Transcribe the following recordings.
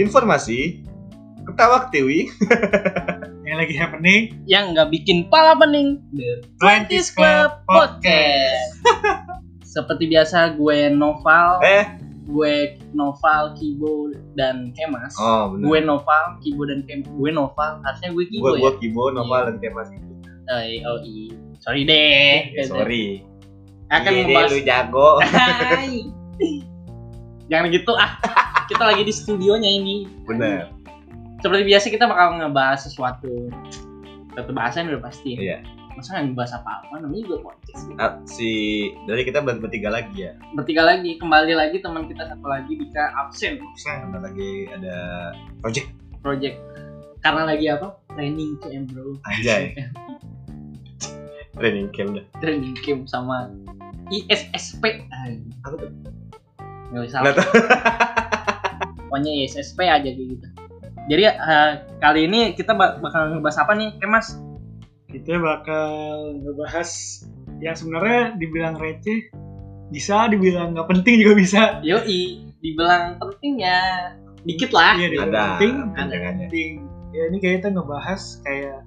informasi, ketawa ketiwi, yang lagi happening yang nggak bikin pala pening. The Twenties Club Podcast Seperti biasa gue Noval, eh, gue Noval, Kibo dan Kemas. oh benar. Gue Noval, Kibo dan Kemas. Gue Noval, harusnya gue Kibo Gue gue ya. Kibo, Nova dan Kemas itu. Eh, oh, i. Sorry deh. Ya, sorry. Akan Iya deh, kan membahas lu jago. Hai. Jangan gitu ah. Kita lagi di studionya ini. Bener. Seperti biasa kita bakal ngebahas sesuatu satu bahasan udah pasti. Iya. Masa nggak ngebahas apa-apa namanya juga podcast. Ah, Si dari kita ber- bertiga lagi ya. Bertiga lagi kembali lagi teman kita satu lagi Dika absen Karena lagi ada project karena lagi apa? Training camp bro. anjay. Training camp dah. Training camp sama ISSP. Ay, Aku tuh Nggak usah. Nggak Pokoknya ISSP aja kayak gitu. Jadi eh, kali ini kita bak- bakal ngebahas apa nih, Kemas? kita bakal ngebahas yang sebenarnya dibilang receh bisa dibilang nggak penting juga bisa Yoi, dibilang penting ya dikit lah. iya Ah, dibilang ada penting panjangannya. penting ya ini kayak kita ngebahas kayak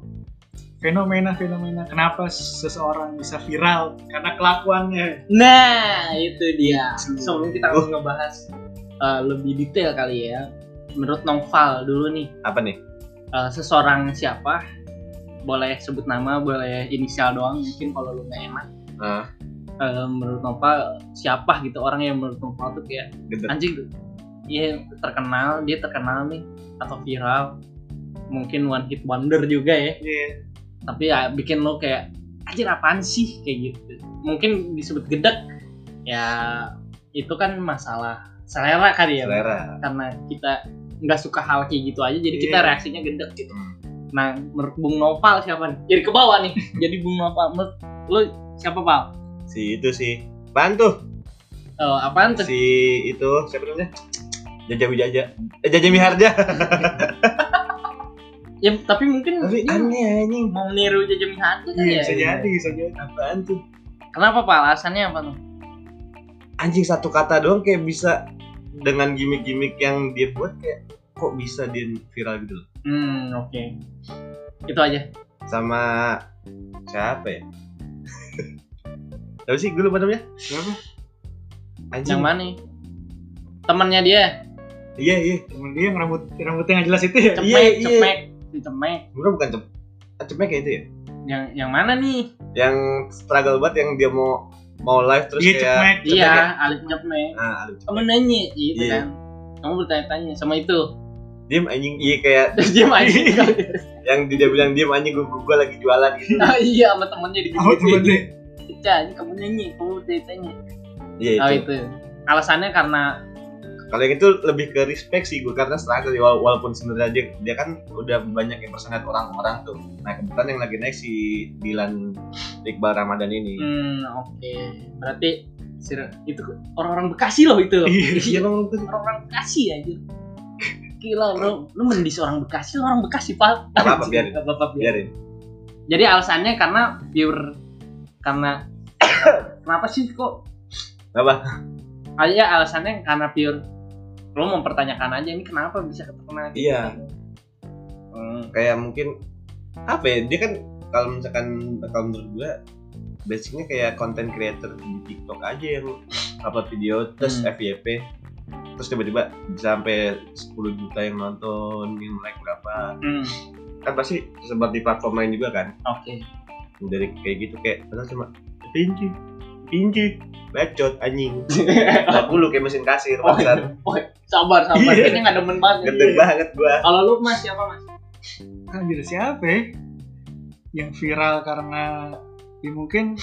fenomena-fenomena kenapa seseorang bisa viral karena kelakuannya Nah, itu Iya, dia. Sebelum kita Oh. ngebahas uh, lebih detail kali ya. Menurut Nongval dulu nih, Apa nih? uh, seseorang siapa? Boleh sebut nama, boleh inisial doang mungkin kalau lu nggak enak. Ah, Uh, menurut Nongval siapa gitu orang yang menurut Nongval tuh kayak gitu. anjing dia terkenal, dia terkenal nih atau viral. Mungkin one hit wonder juga ya. Iya, tapi ya bikin lo kayak anjir apaan sih kayak gitu mungkin disebut gedek ya itu kan masalah selera kali ya Selera. karena kita nggak suka hal kayak gitu aja jadi Iya. kita reaksinya gedek gitu Hmm. nah menurut Bung Nopal siapa nih jadi ke bawah nih jadi Bung Nopal menurut lo siapa Pal? Si itu sih. Bantu Eh, apaan tuh? si itu siapa namanya? Jaja Wijaja. Eh, Jaja Miharja. Ya, tapi mungkin Tapi dia aneh anjing. mau niru Jaja Mihati kali ya? iya, bisa iya. jadi bisa jadi Apaan tuh? Kenapa Pak? Alasannya apa tuh? anjing satu kata doang kayak bisa dengan gimmick-gimmick yang dia buat kayak kok bisa dia viral gitu loh Hmm, oke. Itu aja. sama siapa ya Siapa sih gue lupa namanya Siapa? anjing Yang mana nih? Temannya dia. iya iya temen dia yang rambut rambutnya nggak jelas itu ya cemek, Iya, iya. cemek, Si cemek. Sebenernya bukan cep ah, cepet kayak itu ya Yang yang mana nih? yang struggle banget yang dia mau mau live terus iya kayak cemek Cemek iya, ya? Alif cemek. ah aduh, cemek. Kamu nanya, gitu Iya. kan? Kamu bertanya-tanya sama itu. diem anjing iya kayak Dia masih yang dia bilang diem anjing gue gue lagi jualan gitu Ah iya sama temennya di oh temen dia Cah, ini kamu nyanyi, kamu bertanya-tanya. iya Oh itu itu. Alasannya karena kalau yang itu lebih ke respect sih gue karena struggle ya, wala- walaupun sebenarnya dia, dia kan udah banyak yang personat orang-orang tuh nah kebetulan yang lagi naik si Dilan Iqbal Ramadan ini hmm oke. Berarti sir- itu orang-orang Bekasi loh itu. iya bang itu Orang-orang Bekasi aja. Gila bro, lu mendis orang Bekasi, lu orang Bekasi pak. Gak apa-apa, biarin. Gak apa-apa, biarin. biarin Jadi alasannya karena pure karena kenapa sih kok? Apa? Ah, iya, alasannya karena pure lo mempertanyakan aja ini kenapa bisa keterkenal? gitu. Iya. Hmm. kayak mungkin apa ya dia kan kalau misalkan kalau menurut gue basicnya kayak content creator di TikTok aja yang upload video terus Hmm. FYP terus tiba-tiba bisa sampai 10 juta yang nonton yang like berapa Hmm, kan pasti tersebar di platform lain juga kan Oke. dari kayak gitu kayak padahal cuma pinci pinci bacot anjing nggak perlu kayak mesin kasir Oh, bangsat Woi, sabar sabar. Iya. Kayaknya nggak demen banget. gede banget gua Kalau lu mas siapa mas? anjir siapa ya yang viral karena ya mungkin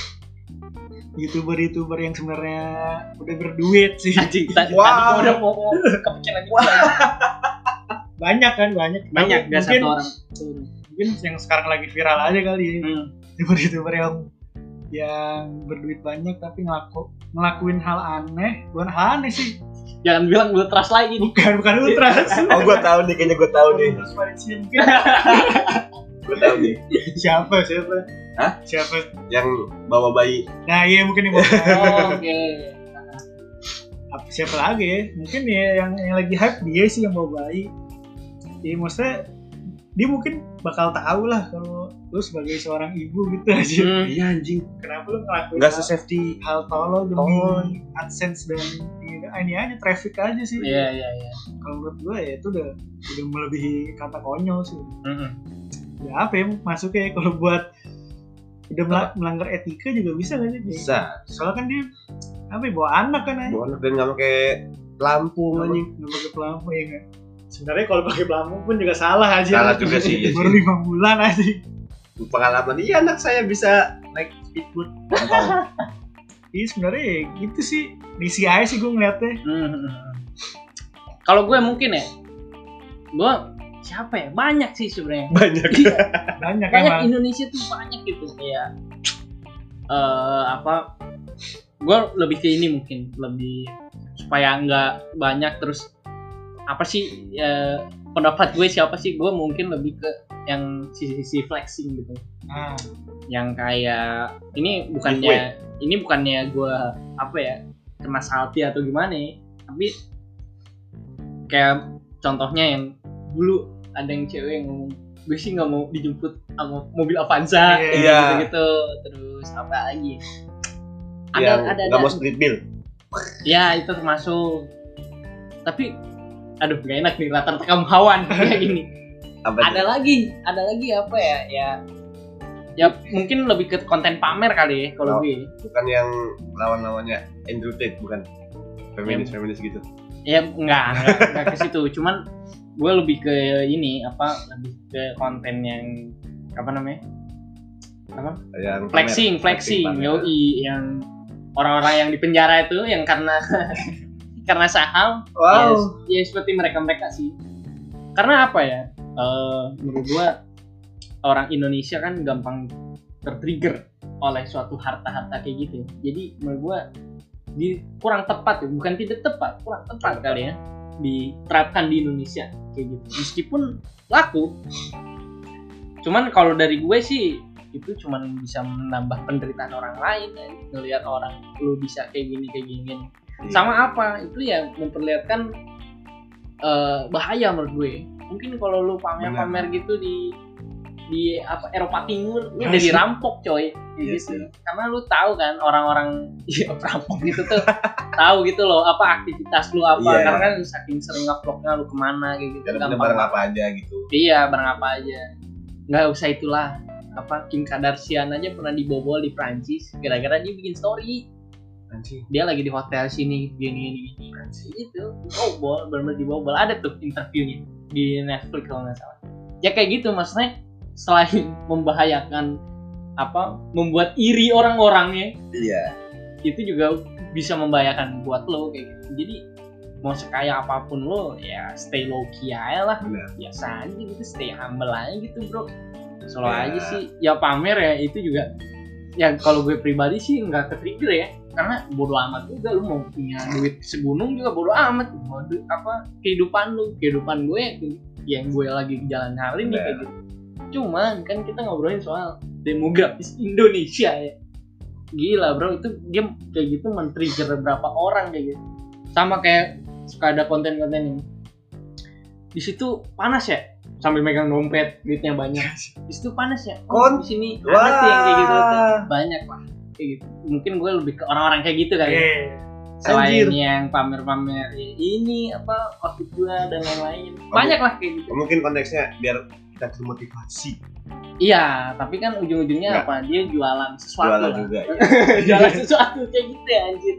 youtuber-youtuber yang sebenarnya udah Ah, berduit sih Anjing. Tadi Wow. tadi gua udah mau mau kepikiran gitu. banyak kan banyak Banyak Tapi nggak mungkin satu orang. mungkin yang sekarang lagi viral aja kali ya Hmm. youtuber-youtuber yang yang berduit banyak tapi ngelaku ngelakuin hal aneh bukan hal aneh sih Jangan bilang lu trust lagi nih. bukan Oh, bukan ultras oh gua tahu nih kayaknya gua tahu nih Ultras Malaysia mungkin gua tahu nih siapa siapa Hah? siapa yang bawa bayi nah iya mungkin ini Oh, Oke. apa- siapa lagi ya mungkin ya yang yang lagi hype dia sih yang bawa bayi jadi maksudnya dia mungkin bakal tahu lah kalau lu sebagai seorang ibu gitu aja Hmm. Iya anjing. kenapa lu ngelakuin Enggak hal, se-safety hal tolol demi Tolol. adsense dan ini, ini aja traffic aja sih Iya iya iya. kalau menurut gue ya itu udah udah melebihi kata konyol sih Mm-mm. ya apa ya masuknya kalau buat udah mela- melanggar etika juga bisa kan ya bisa. soalnya kan dia apa ya, bawa anak kan ya Bonus dan nggak pakai lampu anjing. nggak pakai pelampung ya nggak? sebenarnya kalau pakai pelampung pun juga salah aja Salah juga sih, iya baru sih. lima bulan aja Pengalaman iya anak saya bisa naik speedboat. Gampang. iya sebenarnya ya gitu sih misi aja sih gue ngeliatnya Mm-mm. hmm, Kalau gue mungkin ya, gue siapa ya? Banyak sih sebenarnya. Banyak. banyak banyak emang Indonesia tuh banyak gitu kayak eh apa gue lebih ke ini mungkin lebih supaya nggak banyak terus apa sih eh, pendapat gue siapa sih gue mungkin lebih ke yang sisi-sisi flexing gitu nah, yang kayak ini bukannya ini bukannya gue apa ya kena salty atau gimana ya, tapi kayak contohnya yang dulu ada yang cewek yang ngomong gue sih nggak mau dijemput sama mobil Avanza gitu Iya. gitu terus apa lagi ada Yang ada ada Iya, nggak mau split bill. ya itu termasuk tapi aduh gak enak nih latar kaum hawan kayak gini Apa ada lagi ada lagi apa ya ya ya mungkin lebih ke konten pamer kali ya Oh. kalau gue bukan yang lawan-lawannya Andrew Tate bukan feminis feminis gitu ya enggak enggak, enggak ke situ cuman gue lebih ke ini apa lebih ke konten yang apa namanya yang pamer. flexing flexing pamer. yoi yang orang-orang yang di penjara itu yang karena karena saham wow Ya, ya seperti mereka-mereka sih. Karena apa ya? Eh, menurut gua orang Indonesia kan gampang tertrigger oleh suatu harta-harta kayak gitu. Jadi menurut gua di kurang tepat ya, bukan tidak tepat, kurang tepat kali ya diterapkan di Indonesia kayak gitu. Meskipun laku, cuman kalau dari gue sih itu cuman bisa menambah penderitaan orang lain ya. ngelihat orang lu bisa kayak gini kayak gini kayak gini Iya. sama apa itu ya memperlihatkan eh, bahaya menurut gue mungkin kalau lu pamer-pamer gitu di di apa Eropa Timur lu Iya udah sih. dirampok coy Kayak Iya gitu karena lu tahu kan orang-orang ya, perampok gitu tuh tahu gitu loh apa aktivitas lu apa Iya. karena kan lu saking sering ngevlognya lu kemana kayak gitu Karena punya Gampang barang apa aja gitu Iya, barang apa aja. Nggak usah itulah. Apa Kim Kardashian aja pernah dibobol di Prancis gara-gara dia bikin story. anjing Dia lagi di hotel sini gini gini gini. Itu dibobol, benar dibobol. Ada tuh interviewnya di Netflix kalau nggak salah. Ya kayak gitu maksudnya selain membahayakan apa membuat iri orang-orangnya iya itu juga bisa membahayakan buat lo kayak gitu. Jadi mau sekaya apapun lo ya stay low key aja lah benar biasa aja gitu stay humble aja gitu bro selalu Ya. aja sih ya pamer ya itu juga ya kalau gue pribadi sih nggak ke trigger ya karena bodo amat juga lu mau punya duit segunung juga bodo amat mau du- apa kehidupan lu kehidupan gue ke- yang gue lagi jalan hari nih Ya. kayak gitu cuman kan kita ngobrolin soal demografis Indonesia ya gila bro itu game kayak gitu men-trigger berapa orang kayak gitu sama kayak suka ada konten-konten ini di situ panas ya sambil megang dompet duitnya banyak di situ panas ya Kon- di sini Wah. ada sih yang kayak gitu tuh. banyak lah kayak gitu mungkin gue lebih ke orang-orang kayak gitu iya, kali ya. selain Iya. Anjir. yang pamer-pamer ya ini apa outfit gue dan lain-lain Kamu- banyak lah kayak gitu mungkin konteksnya biar kita termotivasi iya tapi kan Nggak. ujung-ujungnya apa dia jualan sesuatu jualan lah. juga ya. jalan sesuatu kayak gitu ya anjir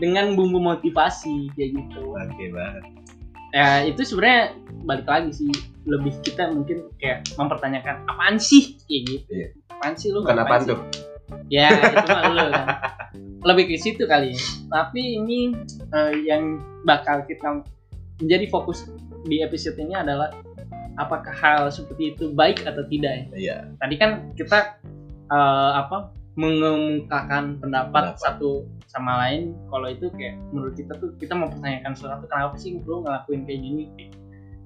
dengan bumbu motivasi kayak gitu oke banget ya itu sebenarnya balik lagi sih lebih kita mungkin kayak mempertanyakan apaan sih kayak gitu Iya. apaan sih lu kenapa sih? tuh ya itu mah lu kan lebih ke situ kali ya tapi ini eh, yang bakal kita menjadi fokus di episode ini adalah apakah hal seperti itu baik atau tidak ya iya tadi kan kita eh, apa mengemukakan Pendapat. pendapat satu sama lain kalau itu kayak menurut kita tuh kita mempertanyakan sesuatu kenapa sih bro ngelakuin kayak gini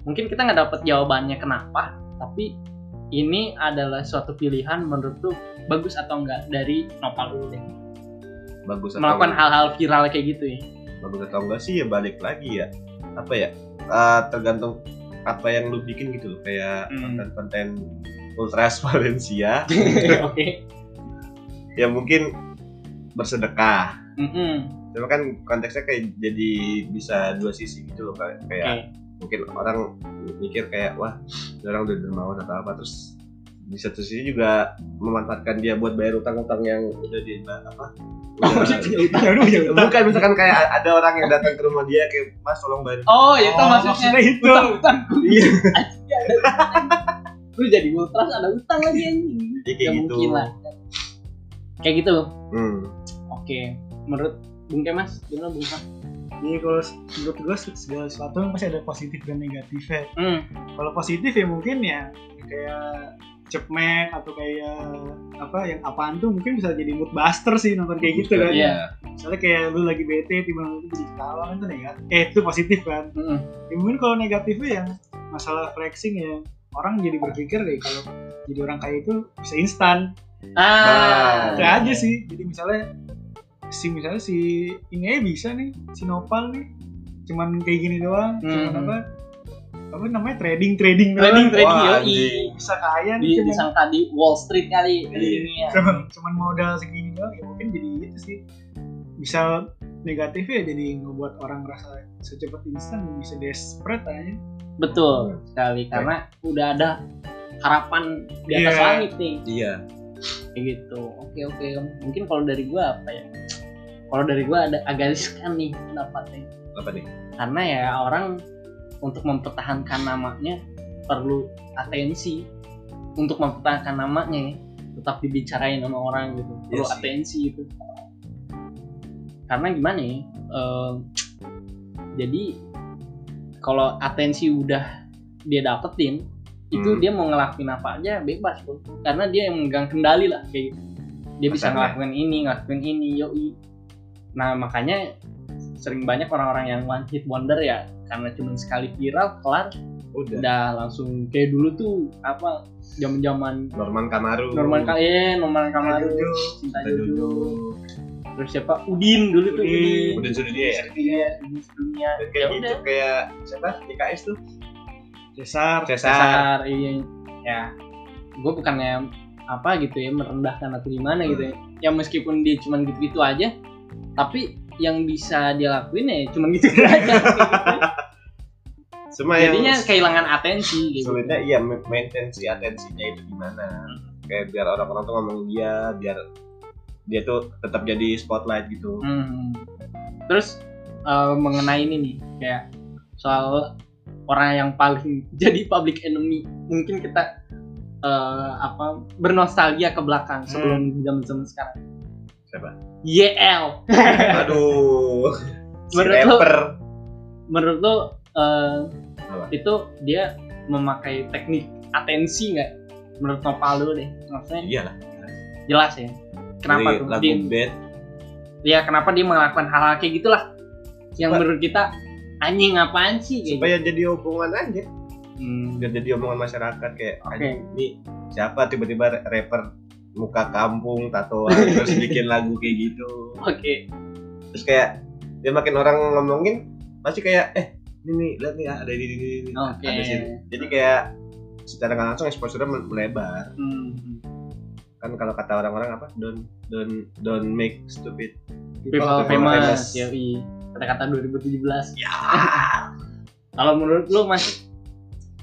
mungkin kita nggak dapat jawabannya kenapa tapi ini adalah suatu pilihan menurut lu bagus atau enggak dari nopal lu deh bagus atau melakukan enggak? hal-hal viral kayak gitu ya bagus atau enggak sih ya balik lagi ya apa ya eh, tergantung apa yang lu bikin gitu loh kayak Hmm. konten-konten ultras Valencia Oke. ya mungkin bersedekah Mm-mm. cuma kan konteksnya kayak jadi bisa dua sisi gitu loh kayak, kayak Oke. mungkin orang mikir kayak wah ini orang udah dermawan atau apa terus di satu sisi juga memanfaatkan dia buat bayar utang-utang yang udah di apa Oh, udah- dia punya utang. Ya udah ya udah. bukan misalkan kayak a- ada orang yang datang ke rumah dia kayak mas tolong bayar Oh, ya itu Oh, maksudnya. itu. Utang-utang. iya Lu jadi ultras ada utang lagi anjing. jadi Ya kayak gitu mungkin lah. Kayak gitu. hmm. Oke. Menurut Bung Kemas, gimana Bung Kemas? Jadi Iya, kalau se- menurut gue segala sesuatu kan pasti ada positif dan negatifnya. Hmm. Kalau positif ya mungkin ya kayak cepmek atau kayak apa yang apaan tuh mungkin bisa jadi mood buster sih nonton kayak gitu kan. Iya. Misalnya kayak lu lagi bete tiba-tiba lu jadi ketawa kan itu negatif. Eh itu positif kan. Mm-mm. Ya, mungkin kalau negatifnya ya masalah flexing ya orang jadi berpikir deh kalau jadi orang kaya itu bisa instan Nah. Ah. itu aja sih jadi misalnya si misalnya si ini aja bisa nih si Nopal nih cuman kayak gini doang cuman Hmm. apa apa namanya trading trading doang. Trading trading Wah, yoi. anjing. bisa kaya Di, nih cuman, disangka di Wall Street kali Iya. ini ya. cuman cuman modal segini doang ya mungkin jadi itu sih bisa negatif ya jadi ngebuat orang ngerasa secepat instan bisa desperate aja Hmm. Betul sekali karena udah ada harapan di atas Iya. langit nih iya kayak gitu. Oke oke. Mungkin kalau dari gua apa ya? Kalau dari gua ada agak riskan nih pendapatnya. apa nih Karena ya orang untuk mempertahankan namanya perlu atensi untuk mempertahankan namanya ya, tetap dibicarain sama orang gitu perlu Iya sih. atensi itu karena gimana ya eh, jadi kalau atensi udah dia dapetin itu Hmm. dia mau ngelakuin apa aja bebas bro. karena dia yang memegang kendali lah kayak gitu. dia bisa Makanya. ngelakuin ini ngelakuin ini yoi nah makanya sering banyak orang-orang yang one hit wonder ya karena cuma sekali viral kelar udah udah langsung kayak dulu tuh apa zaman zaman Norman Kamaru Norman Ka ya Norman Kamaru Jojo. Cinta Kita Jojo duduk terus siapa Udin dulu tuh Udin. Udin udah sudah dia ya Iya, Udin dunia Dan Ya kayak gitu udah. kayak siapa DKS tuh Cesar Cesar Cesar iya ya gue bukannya apa gitu ya merendahkan atau gimana gitu ya Hmm. ya meskipun dia cuman gitu gitu aja tapi yang bisa dia lakuin ya cuman gitu aja semua yang jadinya kehilangan atensi gitu sulitnya iya ma- maintain si atensinya itu gimana kayak biar orang-orang tuh ngomongin dia biar dia tuh tetap jadi spotlight gitu Hmm. Terus eh, mengenai ini nih kayak soal orang yang paling jadi public enemy mungkin kita eh, apa bernostalgia ke belakang sebelum zaman zaman sekarang. Hmm. Siapa? YL. aduh si Menurut lu- rapper Menurut lo eh, Apa? itu dia memakai teknik atensi nggak? Menurut Nopal dulu deh. Maksudnya iyalah jelas ya. Kenapa Dari tuh? Iya. lagu Dia, bad ya kenapa dia melakukan hal-hal kayak gitulah Supaya- yang menurut kita anjing apaan sih kayak supaya Iya. jadi omongan aja Hmm. biar jadi omongan masyarakat kayak Oke. "Anjing, ini siapa tiba-tiba rapper muka kampung tatoan terus bikin lagu kayak gitu Oke. terus kayak dia makin orang ngomongin pasti kayak eh ini nih lihat nih ah, ada di sini Oke. ada sini jadi kayak secara nggak langsung exposure melebar Hmm. kan kalau kata orang-orang apa don't don't don't make stupid People People famous. famous, yoi. Kata-kata 2017. ya Kalau menurut lu masih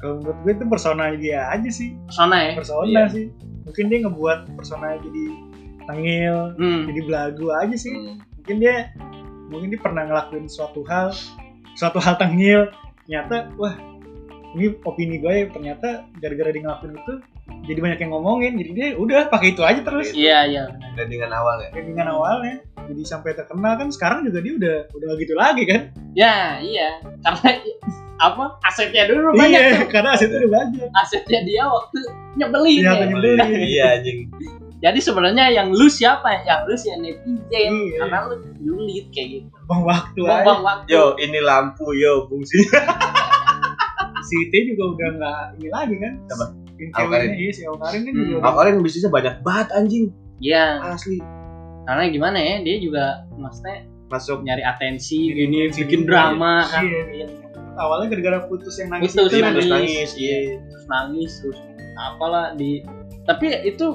kalau menurut gue itu persona dia aja sih persona ya? persona Iya. sih mungkin dia ngebuat persona jadi tengil Hmm. jadi belagu aja sih mungkin dia mungkin dia pernah ngelakuin suatu hal suatu hal tengil ternyata wah ini opini gue ya, ternyata gara-gara dia ngelakuin itu jadi banyak yang ngomongin jadi dia udah pakai itu aja terus Iya, iya. trendingan awal ya dengan awalnya jadi sampai terkenal kan sekarang juga dia udah udah gak gitu lagi kan Ya, iya. Karena i- apa? Asetnya dulu banyak iya tuh. karena asetnya udah banyak Asetnya dia waktu nyebelin Iya, ya. nyebelin. Nyebelin. iya anjing Jadi sebenarnya yang lu siapa? Yang lu sih netizen. Iya. Karena lu julid kayak gitu. bang waktu aja Buang-buang waktu. yo ini lampu yo fungsi si T juga udah nggak ini lagi kan Siapa? Yang Awkarin. ceweknya, iya si Awkarin kan juga Hmm. udah- awalnya bisnisnya banyak banget anjing Iya. asli karena gimana ya dia juga maksudnya masuk nyari atensi Jadi ini atensi, bikin iya. drama kan Iya. awalnya gara-gara putus yang nangis Putus, itu iya, kan terus nangis, nangis iya. iya terus nangis terus apalah di tapi itu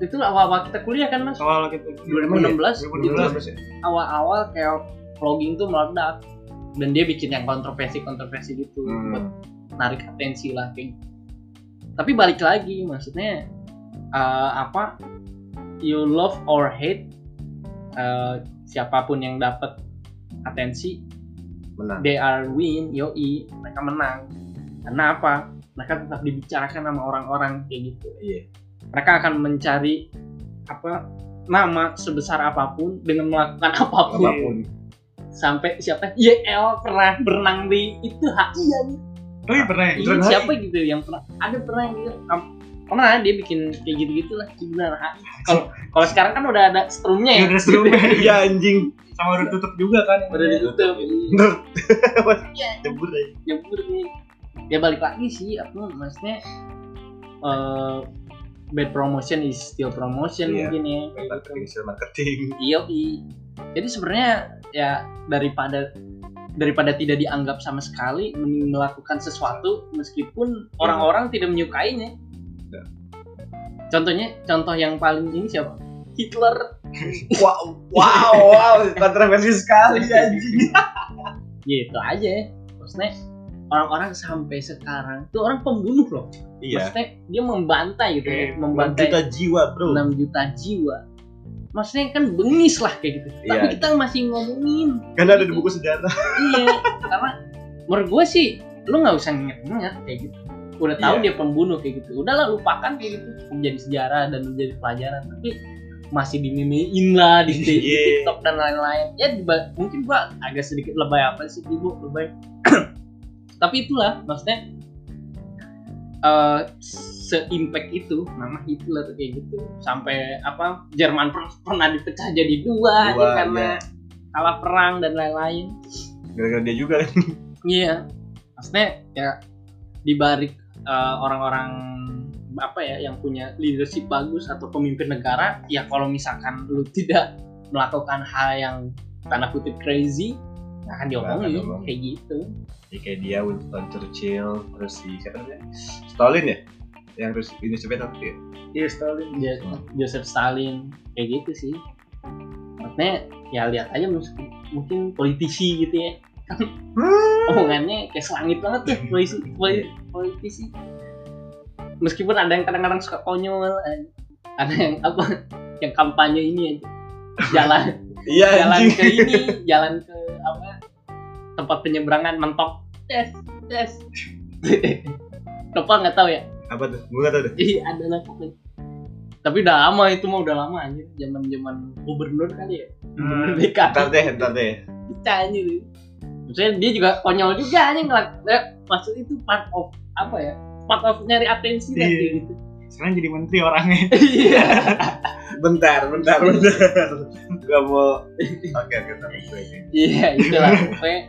itu awal-awal kita kuliah kan mas awal gitu 2016 2016 ya? awal-awal kayak vlogging tuh meledak dan dia bikin yang kontroversi-kontroversi gitu Hmm. buat narik atensi lah kayak gitu. tapi balik lagi maksudnya eh, apa you love or hate eh, siapapun yang dapat atensi benar they are win yoi mereka menang karena apa mereka tetap dibicarakan sama orang-orang kayak gitu iya mereka akan mencari apa nama sebesar apapun dengan melakukan apapun apapun sampai siapa YL pernah berenang di itu HI ya nih. oh iya pernah ya Ini Drone siapa gitu yang pernah ada pernah yang gitu Am- pernah dia bikin kayak gitu gitulah gimana HI kalau kalau sekarang kan udah ada high. strumnya Iya, ya dress room iya anjing sama udah tutup juga kan udah ditutup jebur aja jebur nih ya balik lagi sih apa maksudnya eh, bad promotion is still promotion Iya. mungkin ya marketing sel marketing Yoi. Jadi sebenarnya ya daripada daripada tidak dianggap sama sekali mending melakukan sesuatu meskipun orang-orang tidak menyukainya. Ya. Contohnya contoh yang paling ini siapa? Hitler. wow wow wow kontroversi sekali anjing Gitu aja. Maksudnya orang-orang sampai sekarang tuh orang pembunuh loh. iya Maksudnya dia membantai gitu ya, Oke, Enam membantai juta jiwa bro 6 juta jiwa. Maksudnya kan bengis lah kayak gitu. Tapi Iya. kita masih ngomongin karena ada di buku sejarah iya karena menurut gue sih lu nggak usah inget-inget kayak gitu udah tahu Iya. dia pembunuh kayak gitu udahlah lupakan kayak gitu menjadi sejarah dan menjadi pelajaran tapi masih dimemein lah di, di Iya. TikTok dan lain-lain ya diba- mungkin gua agak sedikit lebay apa sih ibu lebay tapi itulah maksudnya eh se-impact itu nama Hitler kayak gitu sampai apa Jerman per- pernah dipecah jadi dua, Dua, iya. ya, karena kalah perang dan lain-lain gara-gara dia juga kan Iya. Maksudnya ya di balik eh, orang-orang apa ya yang punya leadership bagus atau pemimpin negara, ya kalau misalkan lu tidak melakukan hal yang tanda kutip crazy, nggak akan Nah, kan diomongin Nggak akan Kan diomongin. kayak gitu. ya, kayak dia Winston Churchill terus si siapa namanya Stalin ya yang terus Uni Soviet nanti ya? iya Stalin Jo- Joseph Stalin kayak gitu sih. Maksudnya ya lihat aja mus- mungkin politisi gitu ya. Omongannya kayak selangit banget tuh polisi, poli- politisi. Meskipun ada yang kadang-kadang suka konyol, eh, ada yang apa yang kampanye ini aja. Jalan iya jalan anjing ke ini, jalan ke apa? Tempat penyeberangan mentok. Yes, yes. Topal nggak tahu ya? apa tuh gue nggak tahu deh Iya ada lah pokoknya. Tapi udah lama itu mah udah lama anjir. Zaman zaman gubernur kali ya. Gubernur Hmm. ntar DKI. deh ntar deh Kita anjir. Maksudnya dia juga konyol juga anjing ngelak. eh, Maksud itu part of apa ya? Part of nyari atensi Iya. kan kayak gitu. sekarang jadi menteri orangnya Iya. bentar bentar bentar gak mau oke oke ntar gue ini. Iya itulah pokoknya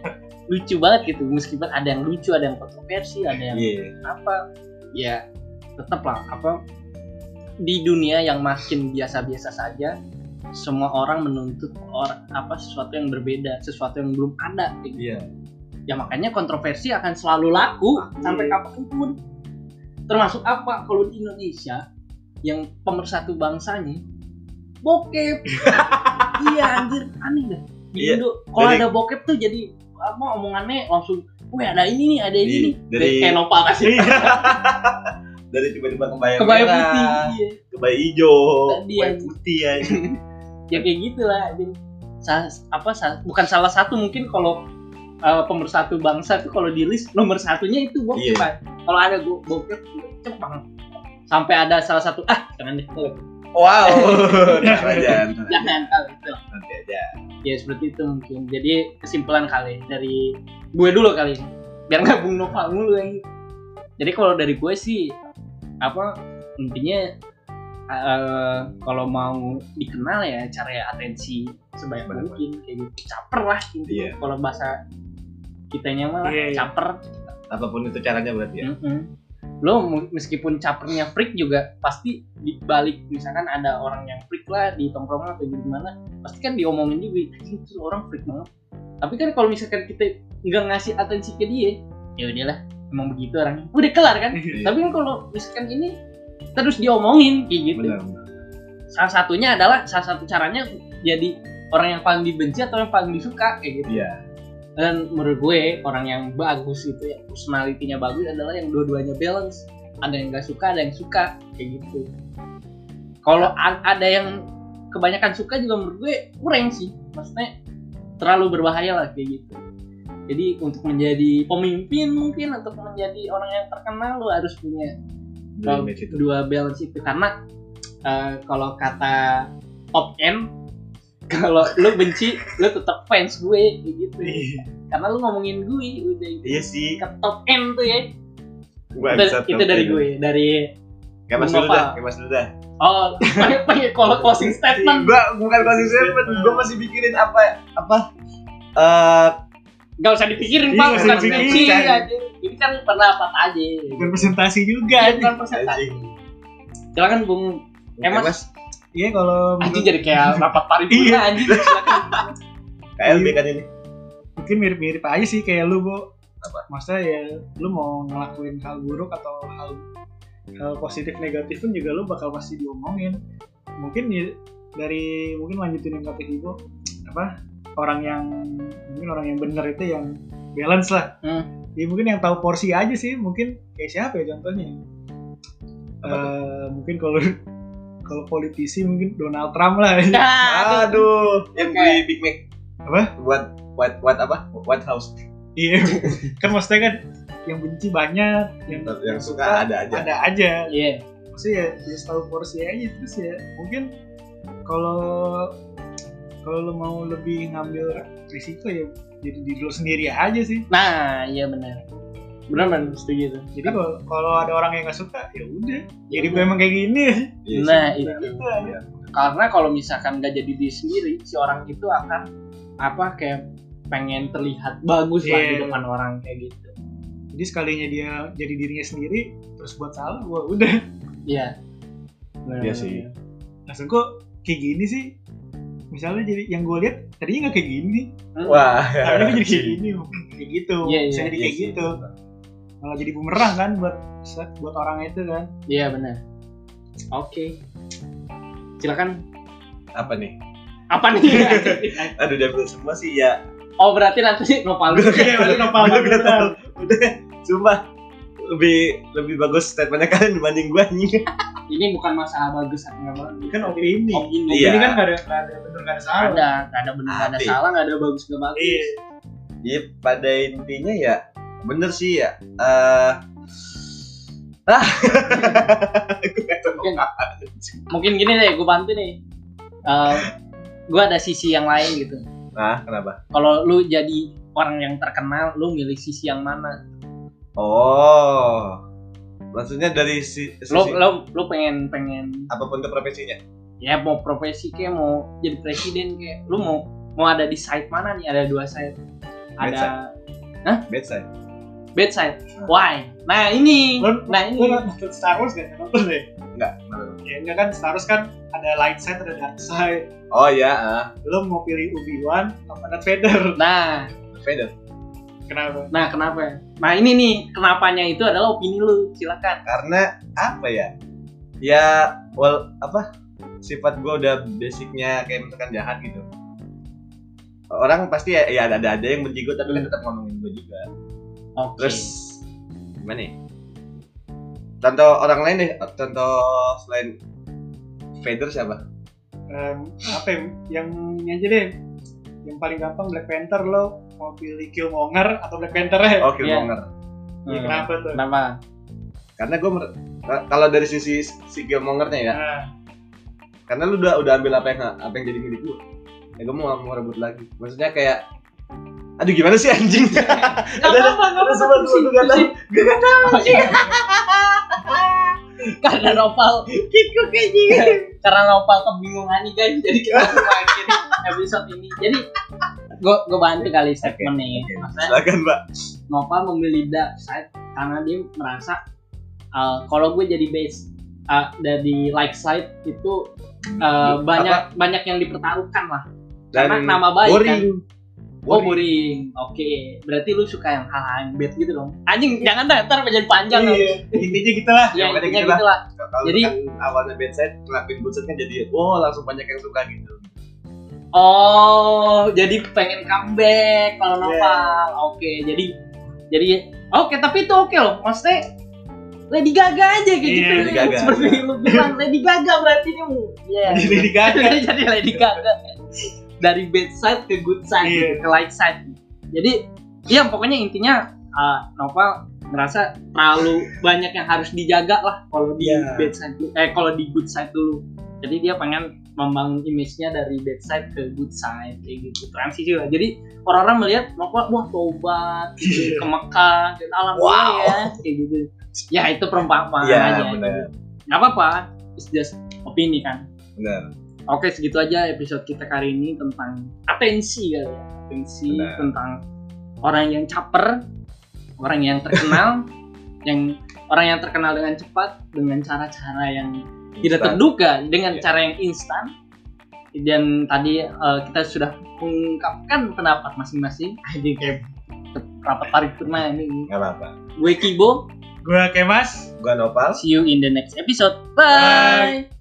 lucu banget gitu meskipun ada yang lucu ada yang kontroversi ada yang iya apa ya tetaplah apa di dunia yang makin biasa-biasa saja semua orang menuntut orang apa sesuatu yang berbeda sesuatu yang belum ada gitu. iya ya makanya kontroversi akan selalu laku sampai kapanpun termasuk apa kalau di Indonesia yang pemersatu bangsanya bokep iya anjir aneh dah di Iya, Indo kalau dari- ada bokep tuh jadi apa omongannya langsung weh ada ini nih ada ini Di- nih Iya. dari- Iya. kayak nopal kasih dari tiba-tiba kebaya kebaya merah, putih iya. kebaya hijau Tadi kebaya yang- putih ya ya kayak gitulah anjing. Sa- apa sa- bukan salah satu mungkin kalau uh, pemersatu bangsa tuh kalau di list nomor satunya itu bokep Iya. Pak. kalau ada go bokep cepang sampai ada salah satu ah jangan deh oh, wow ntar aja ntar aja jangan kalau itu nanti aja ya seperti itu mungkin jadi kesimpulan kali dari gue dulu kali ini. biar nggak bung Nova mulu yang jadi kalau dari gue sih apa intinya eh, kalau mau dikenal ya cari atensi sebanyak Benar, mungkin kayak gitu caper lah intinya. Iya. kalau bahasa kitanya malah Iya, iya. caper apapun itu caranya berarti ya Mm-mm. lo mu- meskipun capernya freak juga pasti dibalik misalkan ada orang yang freak lah di tongkrongan atau di mana pasti kan diomongin juga anjing itu orang freak banget tapi kan kalau misalkan kita nggak ngasih atensi ke dia ya udahlah emang begitu orangnya udah kelar kan Mm. tapi kan kalau misalkan ini terus diomongin kayak gitu benar benar salah satunya adalah salah satu caranya jadi orang yang paling dibenci atau yang paling disuka kayak gitu iya dan menurut gue orang yang bagus itu yang personalitinya bagus adalah yang dua-duanya balance ada yang gak suka ada yang suka kayak gitu kalau a- ada yang kebanyakan suka juga menurut gue kurang sih maksudnya terlalu berbahaya lah kayak gitu jadi untuk menjadi pemimpin mungkin atau menjadi orang yang terkenal lo harus punya Nah. dua match itu dua balance itu karena eh, kalau kata top end kalau lu benci lu tetap fans gue kayak gitu karena lu ngomongin gue udah itu iya sih ke top end tuh ya gua itu, bisa itu top dari ten. gue dari kayak mas Bung dulu dah Nopal. kayak mas dulu dah oh pakai pakai kalau closing statement gua bukan closing statement gua masih mikirin apa apa eh nggak usah dipikirin Iya, pak nggak bukan usah dipikirin. skripsi aja ini kan pernah apa aja Bukan presentasi juga. Iya, bukan persentase anjing. silakan bung Emas. Iya kalau anjing menurut- jadi kayak rapat paripurna Iya. anjing silakan KLB kan ini mungkin mirip-mirip aja sih kayak lu bu. Apa? Maksudnya ya lu mau ngelakuin hal buruk atau hal hal positif negatif pun juga lu bakal pasti diomongin. Mungkin ya, dari mungkin lanjutin yang kata Ibu apa orang yang mungkin orang yang bener itu yang balance lah. Hmm. Ya mungkin yang tahu porsi aja sih mungkin kayak siapa ya contohnya. Apa tuh? Eh, mungkin kalau kalau politisi mungkin Donald Trump lah. nah aduh aduh yang beli Big Mac Apa? buat buat buat apa White House Iya, kan maksudnya kan yang benci banyak, yang, yang suka ada aja ada aja. iya Maksudnya ya, ya tahu porsi aja terus ya mungkin kalau kalau lo mau lebih ngambil risiko ya jadi diri lo sendiri aja sih. Nah, iya benar. Benar benar setuju tuh. Jadi kalau kalau ada orang yang nggak suka ya udah. Jadi gue udah. emang kayak gini. Iya sih. Nah, Nah, itu. itu Iya. aja. Karena kalau misalkan nggak jadi diri sendiri, si orang itu akan apa kayak pengen terlihat bagus lah di Iya. depan orang kayak gitu. Jadi sekalinya dia jadi dirinya sendiri terus buat salah, wah udah Iya. Benar, Iya benar, sih. benar. langsung kok kayak gini sih. Misalnya jadi yang gue lihat tadinya nggak kayak gini, Hmm. wah Karena jadi kayak gini, kayak gitu. Iya, iya, Bisa jadi Iya kayak sih. gitu. Malah jadi bumerang kan buat buat orang itu kan. Iya benar. Oke. Silakan. apa nih Apa nih? aduh udah bilang semua sih ya oh berarti nanti nopal dulu. Oke, berarti nopal Gua dulu, udah Bang. tahu. udah sumpah lebih lebih bagus statementnya kalian dibanding gua anjing Ini bukan masalah bagus atau nggak bagus. Kan opini. Opini. Opini Iya. kan nggak ada nggak ada benar nggak ada Nggak salah. ada, nggak ada benar, nggak ada Hati. salah, nggak ada bagus nggak bagus. Iya. ya pada intinya ya bener sih ya Eh ah Gua nggak tahu Mungkin- apa, anjing. Mungkin gini deh, gue bantu nih. Eh, gue ada sisi yang lain gitu. nah kenapa kalau lu jadi orang yang terkenal lu milih sisi yang mana oh maksudnya dari si, sisi lu lu lu pengen pengen apapun tuh profesinya ya mau profesi kayak mau jadi presiden kayak lu mau mau ada di side mana nih ada dua side ada bedside bad side why nah ini Lu- nah Kan Lu ini nonton Star Wars nggak nonton deh. enggak kenapa? Ya enggak kan Star Wars kan ada light side ada dark side. oh ya ah Lo mau pilih Obi Wan apa Darth Vader? nah Vader Kenapa? nah kenapa nah ini nih kenapanya itu adalah opini lu silakan karena apa ya ya wal apa sifat gue udah basicnya kayak misalkan jahat gitu orang pasti ya, ya ada ada yang benci gue tapi kan tetap ngomongin gue juga oke terus gimana ya? contoh orang lain deh contoh selain Vader siapa Em, apa ya, yang ini aja deh. Yang paling gampang Black Panther lo mau pilih Killmonger atau Black Panther ya? oh Killmonger Ya, Hmm. kenapa tuh? kenapa karena gue kalau dari sisi si Killmongernya ya Nah, karena lu udah udah ambil apa yang apa yang jadi milik gue ya gue mau mau rebut lagi maksudnya kayak aduh gimana sih anjing Gak apa-apa, gak ada apa-apa. sobat pusing, gua, gua nggak pusing. Oh, iya. Karena Nopal Gitu, Kikuk aja Karena Nopal kebingungan nih guys Jadi kita makin episode ini Jadi Gue gue bantu kali statement nih Oke, Maksudnya silakan mbak Nopal memilih dark side Karena dia merasa uh, kalau gue jadi base uh, dari like side itu uh, Apa? banyak banyak yang dipertaruhkan lah Dan karena nama baik boring. kan Oh boring, oke. Berarti lu suka yang hal-hal yang bad gitu dong. Anjing, jangan dah, ntar jadi panjang. loh. Iya, intinya gitu lah. Ya, Ya, pokoknya intinya gitu gitu lah. Kalau Jadi- kan awalnya bad side, ngelakuin good side kan jadi oh langsung banyak yang suka gitu. Oh, jadi pengen comeback kalau Iya. novel. Oke, jadi jadi oke, tapi itu oke loh. Maksudnya Lady Gaga aja kayak Iya, gitu. Lady Gaga. Seperti yang lu bilang Lady Gaga berarti dia mau- Iya. Jadi digagal. Jadi jadi Lady Gaga dari bad side ke good side, Iya. gitu, ke light side. Jadi ya pokoknya intinya uh, novel merasa terlalu banyak yang harus dijaga lah kalau di Iya. bad side eh kalau di good side dulu. Jadi dia pengen membangun image-nya dari bad side ke good side kayak gitu transisi lah jadi orang-orang melihat bahwa wah tobat gitu, ke Mekah dan Iya. alhamdulillah Wow. ya kayak gitu ya itu perumpamaan aja Iya, benar. nggak apa-apa it's just opini kan Benar. oke segitu aja episode kita kali ini tentang atensi kali ya atensi Benar. tentang orang yang caper orang yang terkenal yang orang yang terkenal dengan cepat dengan cara-cara yang tidak terduga Iya. dengan cara yang instan dan tadi eh, kita sudah mengungkapkan pendapat masing-masing anjing kayak rapat tarik tunai ini Enggak apa-apa. gue Kibo Gua kayak Mas. Gua Nopal. see you in the next episode Bye. bye.